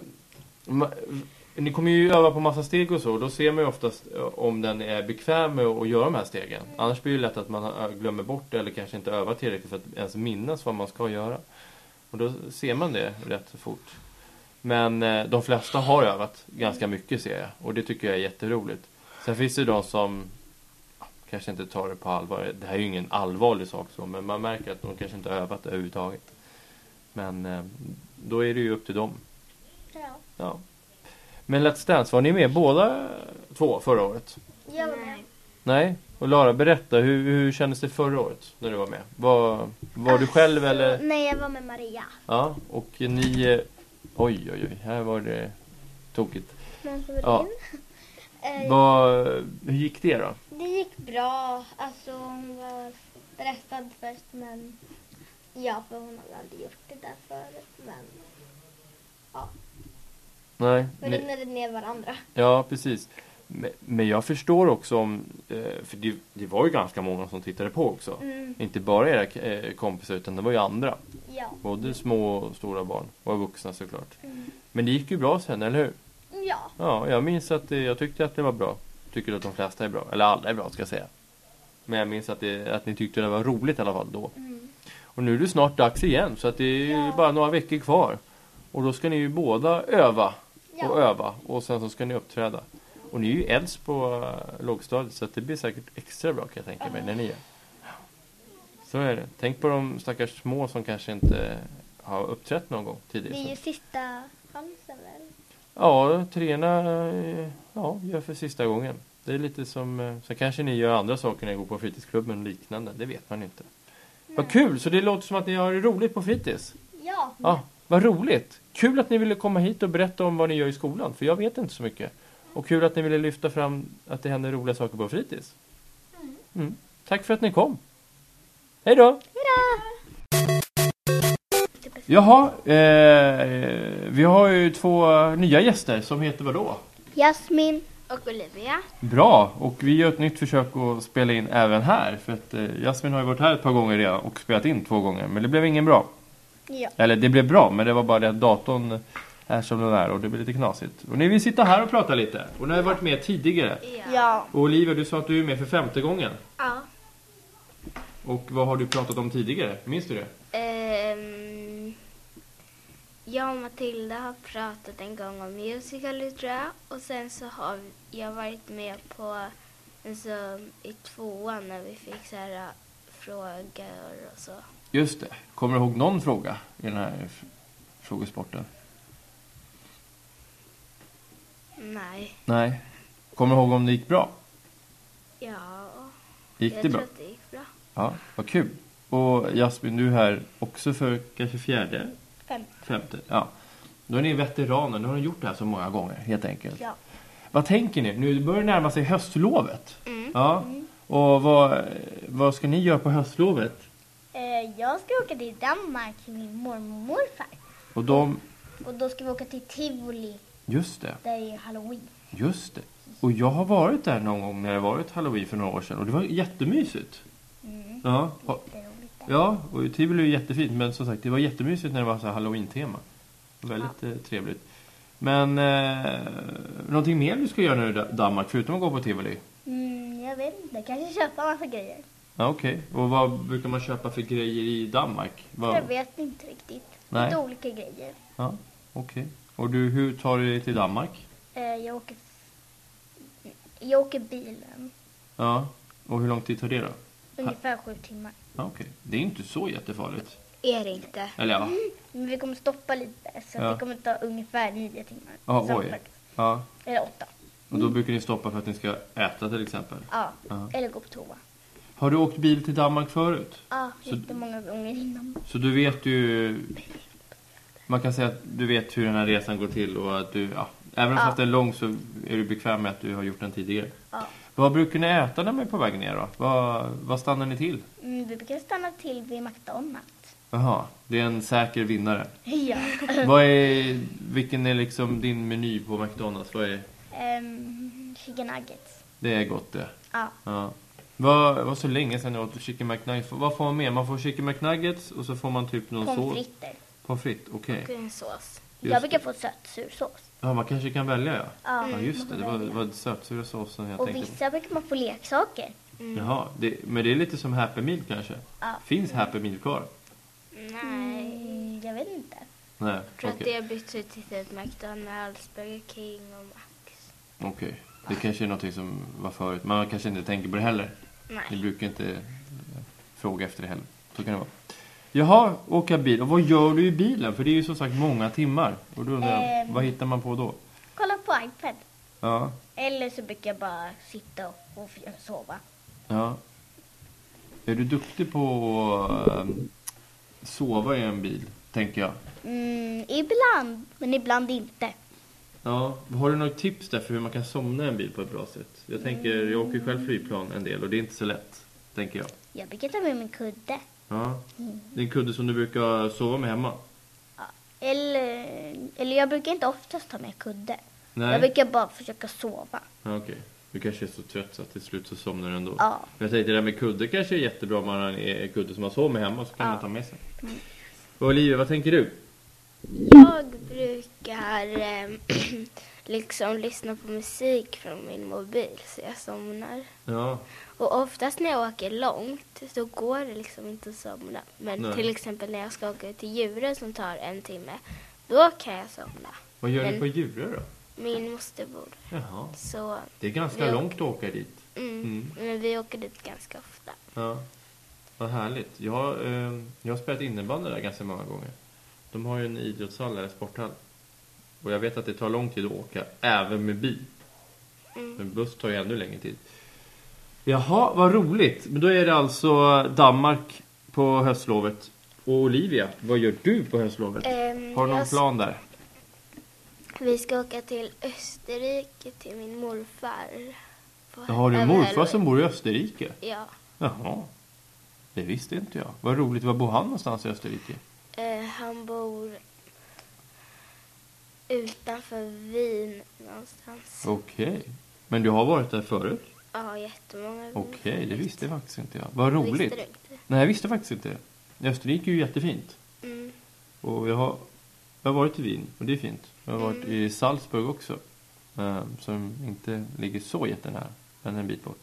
[SPEAKER 1] ma- Ni kommer ju öva på massa steg och så. och Då ser man ju oftast eh, om den är bekväm med att göra de här stegen. Annars blir det lätt att man eh, glömmer bort det eller kanske inte övar tillräckligt för att ens minnas vad man ska göra. Och då ser man det rätt så fort. Men eh, de flesta har övat ganska mycket ser jag. Och det tycker jag är jätteroligt. Sen finns det ju de som ja, kanske inte tar det på allvar. Det här är ju ingen allvarlig sak så. Men man märker att de kanske inte har övat överhuvudtaget. Men eh, då är det ju upp till dem.
[SPEAKER 3] Ja.
[SPEAKER 1] Ja. Men Let's Dance, var ni med båda två förra året?
[SPEAKER 3] Jag var med.
[SPEAKER 7] Nej.
[SPEAKER 1] Nej? Och Lara, berätta, hur, hur kändes det förra året när du var med? Var, var du själv eller?
[SPEAKER 3] Nej, jag var med Maria.
[SPEAKER 1] Ja, och ni... eh, Oj, oj, oj, här var det tokigt.
[SPEAKER 3] Någon som
[SPEAKER 1] Ja.
[SPEAKER 3] ringde. [laughs] Eh,
[SPEAKER 1] Vad, hur gick det då?
[SPEAKER 3] Det gick bra. Alltså hon var stressad först men ja, för hon hade aldrig gjort det där förut. Men
[SPEAKER 1] Nej,
[SPEAKER 3] vi
[SPEAKER 1] ni-
[SPEAKER 3] ringde ner varandra.
[SPEAKER 1] Ja, precis. Men- Men jag förstår också om, eh, för det, det var ju ganska många som tittade på också.
[SPEAKER 3] Mm,
[SPEAKER 1] Inte bara era eh, kompisar utan det var ju andra.
[SPEAKER 3] ja.
[SPEAKER 1] Både små och stora barn. Och vuxna såklart.
[SPEAKER 3] Mm.
[SPEAKER 1] Men det gick ju bra sen, eller hur?
[SPEAKER 3] Ja.
[SPEAKER 1] Ja, jag minns att det, jag tyckte att det var bra. Tycker att de flesta är bra. Eller alla är bra ska jag säga. Men jag minns att, det, att ni tyckte det var roligt i alla fall då.
[SPEAKER 3] Mm.
[SPEAKER 1] Och nu är det snart dags igen så att det är ju
[SPEAKER 3] Ja.
[SPEAKER 1] bara några veckor kvar. Och då ska ni ju båda öva och
[SPEAKER 3] Ja.
[SPEAKER 1] öva och sen så ska ni uppträda. Och ni är ju äldst på eh, lågstadiet så att det blir säkert extra bra kan jag tänka mig när ni är. Så är det. Tänk på de stackars små som kanske inte har uppträtt någon gång
[SPEAKER 3] Det är ju
[SPEAKER 1] tidigare.
[SPEAKER 3] sista chansen väl?
[SPEAKER 1] Ja, treorna eh, ja, gör för sista gången. Det är lite som, eh, sen kanske ni gör andra saker när ni går på fritidsklubben och liknande. Det vet man inte. Vad kul! Så det låter som att ni har det roligt på fritids.
[SPEAKER 3] Ja.
[SPEAKER 1] Ja, vad roligt! Kul att ni ville komma hit och berätta om vad ni gör i skolan, för jag vet inte så mycket. Och kul att ni ville lyfta fram att det händer roliga saker på fritids. Mm. Tack för att ni kom! Hej då! Jaha, eh, vi har ju två nya gäster som heter vadå?
[SPEAKER 3] Jasmin.
[SPEAKER 7] Och Olivia.
[SPEAKER 1] Bra, och vi gör ett nytt försök att spela in även här. För att eh, Jasmin har ju varit här ett par gånger redan och spelat in två gånger, men det blev ingen bra.
[SPEAKER 3] Ja.
[SPEAKER 1] Eller det blev bra, men det var bara det att datorn är som den är och det blir lite knasigt. Och ni vill sitta här och prata lite. Och ni har ju varit med tidigare.
[SPEAKER 3] Ja.
[SPEAKER 1] Och Olivia, du sa att du är med för femte gången.
[SPEAKER 7] Ja.
[SPEAKER 1] Och vad har du pratat om tidigare? Minns du det?
[SPEAKER 7] Ehm, jag och Matilda har pratat en gång om musical tror jag. Och sen så har jag varit med på alltså, i tvåan när vi fick så här, äh, frågor och så.
[SPEAKER 1] Just det. Kommer du ihåg någon fråga i den här f- frågesporten?
[SPEAKER 7] Nej.
[SPEAKER 1] Nej. Kommer du ihåg om det gick bra?
[SPEAKER 7] Ja.
[SPEAKER 1] Gick
[SPEAKER 7] jag
[SPEAKER 1] det
[SPEAKER 7] tror
[SPEAKER 1] bra?
[SPEAKER 7] att det gick bra.
[SPEAKER 1] Ja, vad kul. Och Jasmin, du är här också för kanske fjärde?
[SPEAKER 3] Femte.
[SPEAKER 1] Femte, ja. Då är ni veteraner, nu har ni gjort det här så många gånger helt enkelt.
[SPEAKER 3] Ja.
[SPEAKER 1] Vad tänker ni? Nu börjar det närma sig höstlovet.
[SPEAKER 3] Mm.
[SPEAKER 1] Ja. Och vad, vad ska ni göra på höstlovet?
[SPEAKER 3] Eh, jag ska åka till Danmark till min mormor och morfar.
[SPEAKER 1] Och de...
[SPEAKER 3] Och då ska vi åka till Tivoli
[SPEAKER 1] Just det,
[SPEAKER 3] där det är halloween.
[SPEAKER 1] just det. Och jag har varit där någon gång när det varit halloween för några år sedan och det var jättemysigt.
[SPEAKER 3] Mm.
[SPEAKER 1] Ja, ha-
[SPEAKER 3] Det är roligt. där.
[SPEAKER 1] Ja, och Tivoli är ju jättefint men som sagt det var jättemysigt när det var så här halloween-tema. Väldigt eh, trevligt. Men eh, någonting mer du ska göra nu i Da- Danmark förutom att gå på Tivoli?
[SPEAKER 3] Mm, jag vet inte, kanske köpa massa grejer.
[SPEAKER 1] Ja, Okej, och vad brukar man köpa för grejer i Danmark? Vad-
[SPEAKER 3] Jag vet inte riktigt.
[SPEAKER 1] Nej.
[SPEAKER 3] Lite olika grejer.
[SPEAKER 1] Ja, okej. Och du, hur tar du dig till Danmark?
[SPEAKER 3] Eh, jag åker... Jag åker bilen.
[SPEAKER 1] Ja, och hur lång tid tar det då?
[SPEAKER 3] Ungefär sju timmar.
[SPEAKER 1] Ja, Okej, det är inte så jättefarligt.
[SPEAKER 7] Är det inte?
[SPEAKER 1] Eller ja,
[SPEAKER 3] Men vi kommer stoppa lite så
[SPEAKER 1] Ja.
[SPEAKER 3] det kommer ta ungefär nio timmar.
[SPEAKER 1] Ja, oj.
[SPEAKER 3] sammanlagt.
[SPEAKER 1] ja.
[SPEAKER 3] Eller åtta.
[SPEAKER 1] Och då brukar ni stoppa för att ni ska äta till exempel.
[SPEAKER 3] Ja.
[SPEAKER 1] Ja.
[SPEAKER 3] Eller gå på toa.
[SPEAKER 1] Har du åkt bil till Danmark förut?
[SPEAKER 3] Ja,
[SPEAKER 1] Så-
[SPEAKER 3] jättemånga gånger innan.
[SPEAKER 1] Så du vet ju... Man kan säga att du vet hur den här resan går till och att du... Ja, även
[SPEAKER 3] Ja.
[SPEAKER 1] fast den är lång så är du bekväm med att du har gjort den tidigare.
[SPEAKER 3] Ja.
[SPEAKER 1] Vad brukar ni äta när man är på väg ner då? Vad, vad stannar ni till?
[SPEAKER 3] Mm, vi brukar stanna till vid McDonalds.
[SPEAKER 1] Jaha, det är en säker
[SPEAKER 3] [clears throat]
[SPEAKER 1] vinnare.
[SPEAKER 3] Ja.
[SPEAKER 1] Vad är, vilken är liksom din meny på McDonalds? Vad är,
[SPEAKER 3] Ehm, chicken nuggets.
[SPEAKER 1] det är gott det.
[SPEAKER 3] Ja.
[SPEAKER 1] Ja. Vad, var så länge sedan jag åt chicken McNuggets. Vad får man mer? Man får chicken McNuggets och så får man typ någon
[SPEAKER 3] Pommes
[SPEAKER 1] sås.
[SPEAKER 3] frites.
[SPEAKER 1] Pommes frites. Okej.
[SPEAKER 7] Och en sås.
[SPEAKER 1] Just
[SPEAKER 3] Jag brukar få sötsur sås.
[SPEAKER 1] Ja, man kanske kan välja ja.
[SPEAKER 8] Ja,
[SPEAKER 1] Ja just det,
[SPEAKER 8] man
[SPEAKER 1] det
[SPEAKER 8] får
[SPEAKER 1] var,
[SPEAKER 8] välja.
[SPEAKER 1] var sötsura såsen jag
[SPEAKER 8] Och
[SPEAKER 1] tänkte på.
[SPEAKER 8] vissa brukar man få leksaker.
[SPEAKER 1] Jaha, det, men det är lite som Happy Meal kanske?
[SPEAKER 8] Ja.
[SPEAKER 1] Finns Happy Meal kvar?
[SPEAKER 3] Nej.
[SPEAKER 8] Mm, jag vet inte.
[SPEAKER 1] Nej,
[SPEAKER 3] Jag
[SPEAKER 1] okej.
[SPEAKER 3] tror att det har bytts ut till typ McDonalds, Burger King och Max.
[SPEAKER 1] Okej. Det kanske är någonting som var förut. Man kanske inte tänker på det heller. Ni
[SPEAKER 3] Nej.
[SPEAKER 1] brukar inte eh, fråga efter det heller. Så kan det vara. Jaha, åka bil. Och vad gör du i bilen? För det är ju som sagt många timmar. Och då undrar jag,
[SPEAKER 8] Ehm.
[SPEAKER 1] vad hittar man på då?
[SPEAKER 8] Kolla på iPad.
[SPEAKER 1] Ja,
[SPEAKER 8] Eller så brukar jag bara sitta och f- sova.
[SPEAKER 1] ja. Är du duktig på att sova i en bil? Tänker jag.
[SPEAKER 8] Mm, ibland, men ibland inte.
[SPEAKER 1] Ja, har du något tips där för hur man kan somna i en bil på ett bra sätt? Jag tänker, jag åker ju själv flygplan en del och det är inte så lätt, tänker jag.
[SPEAKER 8] Jag brukar ta med min kudde.
[SPEAKER 1] Ja.
[SPEAKER 8] Mm.
[SPEAKER 1] Det är en kudde som du brukar sova med hemma?
[SPEAKER 8] Eller, eller jag brukar inte oftast ta med kudde. Jag
[SPEAKER 1] Nej?
[SPEAKER 8] brukar bara försöka sova.
[SPEAKER 1] Ja, okej. Du kanske är så trött så att till slut så somnar du ändå?
[SPEAKER 8] Ja.
[SPEAKER 1] Men Jag tänkte det där med kudde kanske är jättebra om man har en kudde som man sover med hemma så kan man ta med sig.
[SPEAKER 8] Mm.
[SPEAKER 1] Och Olivia, vad tänker du?
[SPEAKER 3] Jag brukar eh, [clears throat] liksom lyssna på musik från min mobil så jag somnar.
[SPEAKER 1] Ja,
[SPEAKER 3] Och oftast när jag åker långt så går det liksom inte att somna. Men
[SPEAKER 1] Nej.
[SPEAKER 3] till exempel när jag ska åka till djuren som tar en timme, då kan jag somna.
[SPEAKER 1] vad gör ni
[SPEAKER 3] Men-
[SPEAKER 1] på Djurö då?
[SPEAKER 3] Min moster bor där.
[SPEAKER 1] Jaha,
[SPEAKER 3] Så,
[SPEAKER 1] det är ganska
[SPEAKER 3] Vi åker-
[SPEAKER 1] långt att åka dit.
[SPEAKER 3] mm.
[SPEAKER 1] Mm.
[SPEAKER 3] Men vi åker dit ganska ofta.
[SPEAKER 1] Ja, vad härligt. Jag, har, eh, jag har spelat innebandy där ganska många gånger. De har ju en idrottshall eller sporthall. Och jag vet att det tar lång tid att åka, även med bil.
[SPEAKER 3] Mm.
[SPEAKER 1] Men buss tar ju ännu längre tid. Jaha, vad roligt. Men då är det alltså Danmark på höstlovet. Och Olivia, vad gör du på höstlovet?
[SPEAKER 3] Ehm,
[SPEAKER 1] har du
[SPEAKER 3] jag
[SPEAKER 1] någon
[SPEAKER 3] s-
[SPEAKER 1] plan där?
[SPEAKER 3] Vi ska åka till Österrike till min morfar. på-
[SPEAKER 1] Ja, har du en
[SPEAKER 3] över
[SPEAKER 1] morfar
[SPEAKER 3] helgen.
[SPEAKER 1] som bor i Österrike?
[SPEAKER 3] Ja.
[SPEAKER 1] Jaha. Det visste inte jag. Vad roligt. Var bor han någonstans i Österrike?
[SPEAKER 3] Eh, han bor utanför Wien någonstans.
[SPEAKER 1] Okej. Men du har varit där förut?
[SPEAKER 3] Ja, jättemånga gånger.
[SPEAKER 1] Okej, det visste jag faktiskt inte jag. Vad
[SPEAKER 3] Visste
[SPEAKER 1] roligt.
[SPEAKER 3] du inte?
[SPEAKER 1] Nej, jag visste faktiskt inte det. Österrike är ju jättefint.
[SPEAKER 3] Mm.
[SPEAKER 1] Och jag har, jag har varit i Wien och det är fint. Jag har varit
[SPEAKER 3] Mm.
[SPEAKER 1] i Salzburg också. eh, Som inte ligger så jättenära, men en bit bort.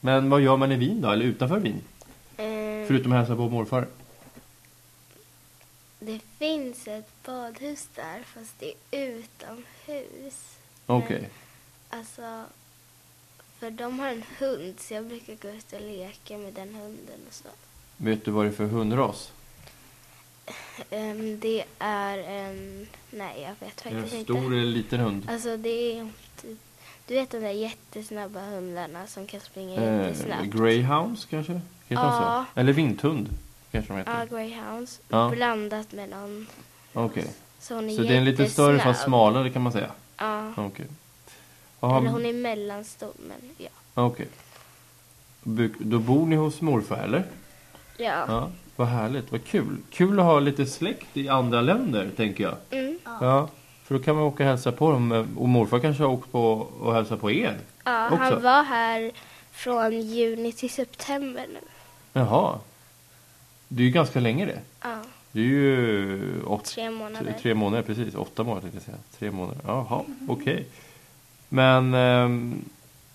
[SPEAKER 1] Men vad gör man i Wien då, eller utanför Wien?
[SPEAKER 3] Eh,
[SPEAKER 1] Förutom att hälsa på morfar?
[SPEAKER 3] Det finns ett badhus där, fast det är utomhus.
[SPEAKER 1] Okej.
[SPEAKER 3] Alltså, för de har en hund, så jag brukar gå ut och leka med den hunden och så.
[SPEAKER 1] Vet du vad det är för hundras?
[SPEAKER 3] Ehm, det är en... Nej, jag vet
[SPEAKER 1] Är det en
[SPEAKER 3] faktiskt inte.
[SPEAKER 1] stor eller liten hund?
[SPEAKER 3] Alltså, det är typ... Du vet de där jättesnabba hundarna som kan springa
[SPEAKER 1] Eh,
[SPEAKER 3] jättesnabbt?
[SPEAKER 1] greyhounds kanske? Heter de
[SPEAKER 3] Ja.
[SPEAKER 1] så? Eller vinthund kanske de
[SPEAKER 3] Ja,
[SPEAKER 1] heter.
[SPEAKER 3] greyhounds.
[SPEAKER 1] Ja.
[SPEAKER 3] Blandat med någon.
[SPEAKER 1] Okej.
[SPEAKER 3] Så hon är
[SPEAKER 1] Så det är en lite större fast
[SPEAKER 3] jättesnabb.
[SPEAKER 1] smalare kan man säga?
[SPEAKER 3] Ja.
[SPEAKER 1] Okej. Jaha,
[SPEAKER 3] Eller hon är mellanstor, men ja.
[SPEAKER 1] Okej. Bruk- Då bor ni hos morfar eller?
[SPEAKER 3] Ja.
[SPEAKER 1] Ja. Vad härligt, vad kul. Kul att ha lite släkt i andra länder, tänker jag.
[SPEAKER 3] Mm.
[SPEAKER 1] Ja. För då kan man åka och hälsa på dem. Och morfar kanske har åkt på och hälsat på er.
[SPEAKER 3] ja
[SPEAKER 1] Också.
[SPEAKER 3] han var här från juni till september nu.
[SPEAKER 1] Jaha. Det är ju ganska länge det.
[SPEAKER 3] Ja,
[SPEAKER 1] Det är ju åt-
[SPEAKER 3] tre månader.
[SPEAKER 1] Tre månader, precis. Åtta månader tänkte jag säga. Tre månader. Jaha, okej. Men ehm,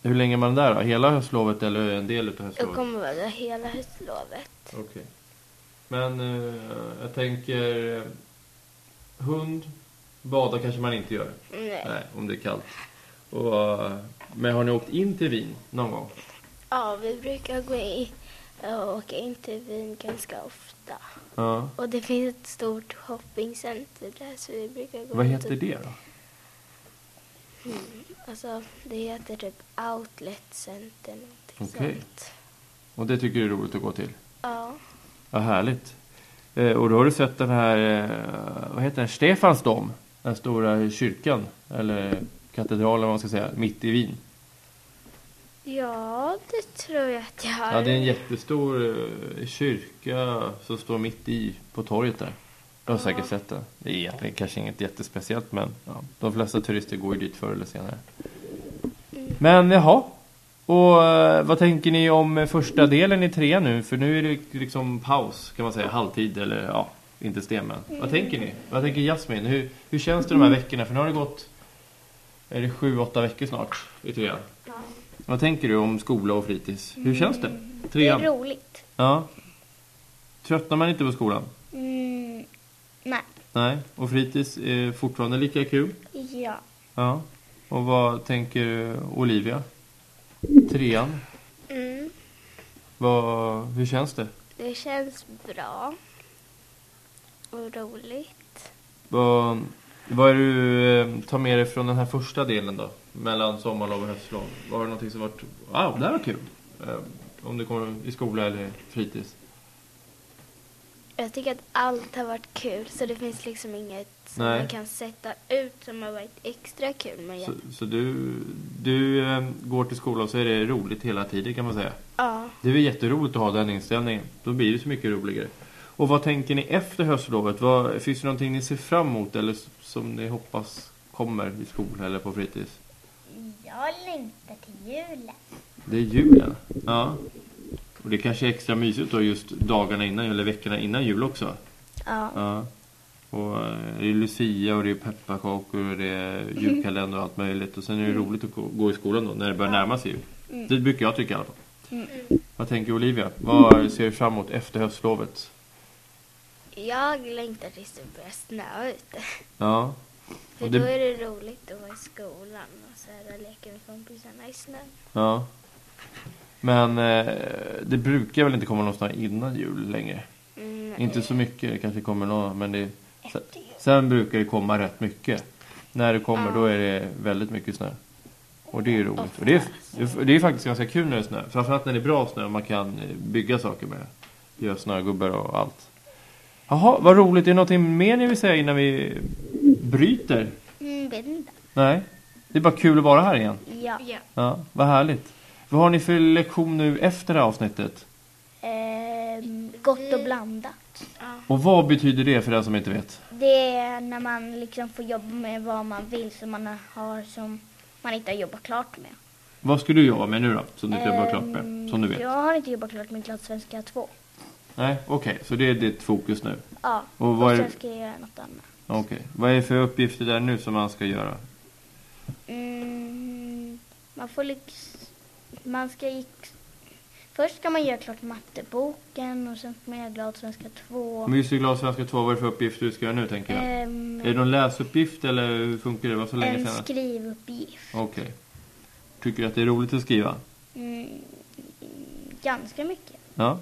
[SPEAKER 1] hur länge är man där då? Hela höstlovet eller en del av
[SPEAKER 3] Jag
[SPEAKER 1] höstlovet?
[SPEAKER 3] kommer vara där hela höstlovet.
[SPEAKER 1] Okej. Men eh, jag tänker eh, hund, bada kanske man inte gör.
[SPEAKER 3] Nej.
[SPEAKER 1] Nej, om det är kallt. Och, eh, men har ni åkt in till Wien någon gång?
[SPEAKER 3] Ja, vi brukar gå i och åka in till Wien ganska ofta.
[SPEAKER 1] Ja.
[SPEAKER 3] Och det finns ett stort shoppingcenter där så vi brukar gå
[SPEAKER 1] Vad
[SPEAKER 3] runt
[SPEAKER 1] heter
[SPEAKER 3] och-
[SPEAKER 1] det då?
[SPEAKER 3] Alltså, det heter typ Outlet Center, någonting
[SPEAKER 1] Okej.
[SPEAKER 3] sånt.
[SPEAKER 1] Och det tycker du är roligt att gå till?
[SPEAKER 3] Ja.
[SPEAKER 1] Vad härligt. Eh, och då har du sett den här, eh, vad heter den, Stefansdom? Den stora kyrkan, eller katedralen vad man ska säga, mitt i Wien.
[SPEAKER 3] Ja, det tror jag att jag har.
[SPEAKER 1] Ja, det är en jättestor eh, kyrka som står mitt i på torget där. Du har säkert sett den. Det är egentligen kanske inget jättespeciellt men ja, de flesta turister går ju dit förr eller senare. Men jaha. Och eh, vad tänker ni om eh, första delen i tre nu? För nu är det liksom paus kan man säga, halvtid eller ja, inte sten men. Vad tänker ni? Vad tänker Jasmin? Hur, hur känns det de här veckorna? För nu har det gått är det sju, åtta veckor snart i trean. Vad tänker du om skola och fritids? Hur känns det?
[SPEAKER 2] Det är
[SPEAKER 1] Trean?
[SPEAKER 2] roligt.
[SPEAKER 1] Ja. Tröttnar man inte på skolan?
[SPEAKER 2] Mm, nej.
[SPEAKER 1] Nej. Och fritids är fortfarande lika kul?
[SPEAKER 2] Ja.
[SPEAKER 1] Ja. Och vad tänker Olivia? Trean?
[SPEAKER 3] Mm.
[SPEAKER 1] Vad, hur känns det?
[SPEAKER 3] Det känns bra och roligt.
[SPEAKER 1] Vad, vad är det du eh, tar med dig från den här första delen då? Mellan sommarlov och höstlov? Var det någonting som varit, wow, det här var kul? Eh, Om det kommer i skola eller fritids?
[SPEAKER 3] Jag tycker att allt har varit kul så det finns liksom inget som
[SPEAKER 1] Nej.
[SPEAKER 3] man kan sätta ut som har varit extra kul. Men jag,
[SPEAKER 1] Så, så du, du eh, går till skolan så är det roligt hela tiden kan man säga.
[SPEAKER 3] ja,
[SPEAKER 1] Det är väl jätteroligt att ha den inställningen. Då blir det så mycket roligare. Och vad tänker ni efter höstlovet? Vad, finns det någonting ni ser fram emot eller s- som ni hoppas kommer i skolan eller på fritids?
[SPEAKER 2] Jag längtar till julen.
[SPEAKER 1] Det är julen. Ja. Och det kanske är extra mysigt då just dagarna innan jul, eller veckorna innan jul också.
[SPEAKER 3] ja,
[SPEAKER 1] Ja. Och eh, det är Lucia och det är pepparkakor och det är julkalender och allt möjligt. Och sen är det
[SPEAKER 2] Mm.
[SPEAKER 1] roligt att gå- gå i skolan då när det börjar närma sig jul. Det brukar jag tycka i alla fall. Vad tänker Olivia? Vad ser du fram emot efter höstlovet?
[SPEAKER 3] jag längtar tills det börjar snöa ute.
[SPEAKER 1] Ja.
[SPEAKER 3] För
[SPEAKER 1] Och det-
[SPEAKER 3] då är det roligt att vara i skolan och så här leka med kompisarna i snön.
[SPEAKER 1] ja. Men eh, det brukar väl inte komma någon snö innan jul längre?
[SPEAKER 3] Mm,
[SPEAKER 1] Inte så mycket, det kanske kommer några, men det... Sen, sen brukar det komma rätt mycket. När det kommer då är det väldigt mycket snö. Och det är ju roligt. Och det är, det är faktiskt ganska kul när det är snö. Framförallt när det är bra snö och man kan eh, bygga saker med det. Göra snögubbar och allt. Jaha, vad roligt. Är det någonting mer ni vill säga innan vi bryter?
[SPEAKER 2] Mm, vet inte.
[SPEAKER 1] Nej? Det är bara kul att vara här igen.
[SPEAKER 2] Ja.
[SPEAKER 3] ja.
[SPEAKER 1] Ja, vad härligt. Vad har ni för lektion nu efter det här avsnittet?
[SPEAKER 2] Ehm, gott och blandat.
[SPEAKER 1] Och vad betyder det för den som inte vet?
[SPEAKER 2] Det är när man liksom får jobba med vad man vill som man har som man inte har jobbat klart med.
[SPEAKER 1] Vad ska du jobba med nu då? Som du inte jobbar klart med? Som du vet?
[SPEAKER 2] Ehm, Jag har inte jobbat klart med klart svenska 2.
[SPEAKER 1] Nej, okej. Så det är ditt fokus nu.
[SPEAKER 2] Ja,
[SPEAKER 1] Och
[SPEAKER 2] och,
[SPEAKER 1] vad är-
[SPEAKER 2] sen ska jag göra något annat.
[SPEAKER 1] Okej. Vad är det för uppgifter där nu som man ska göra?
[SPEAKER 2] Mm, man får liksom... Man ska... gick- Först ska man göra klart matteboken och sen får man göra glad svenska 2.
[SPEAKER 1] Om vi skulle glad svenska 2, vad är det för uppgifter du ska göra nu tänker jag?
[SPEAKER 2] Ehm,
[SPEAKER 1] Mm. Är det någon läsuppgift eller hur funkar det? Det var så länge
[SPEAKER 2] en
[SPEAKER 1] sedan.
[SPEAKER 2] skrivuppgift.
[SPEAKER 1] Okej. Tycker du att det är roligt att skriva?
[SPEAKER 2] Mm, ganska mycket.
[SPEAKER 1] Ja.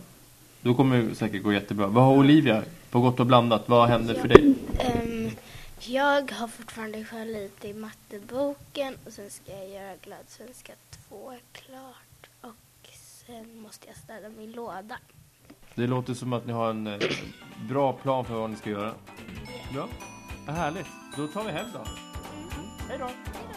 [SPEAKER 1] Då kommer det säkert gå jättebra. Vad har Olivia på gott och blandat? Vad händer för dig?
[SPEAKER 3] Ehm, jag har fortfarande kvar lite i matteboken och sen ska jag göra glad svenska 2 klart. Och sen måste jag städa min låda.
[SPEAKER 1] Det låter som att ni har en eh, bra plan för vad ni ska göra. Bra. Vad härligt. Då tar vi hem då. Hej då.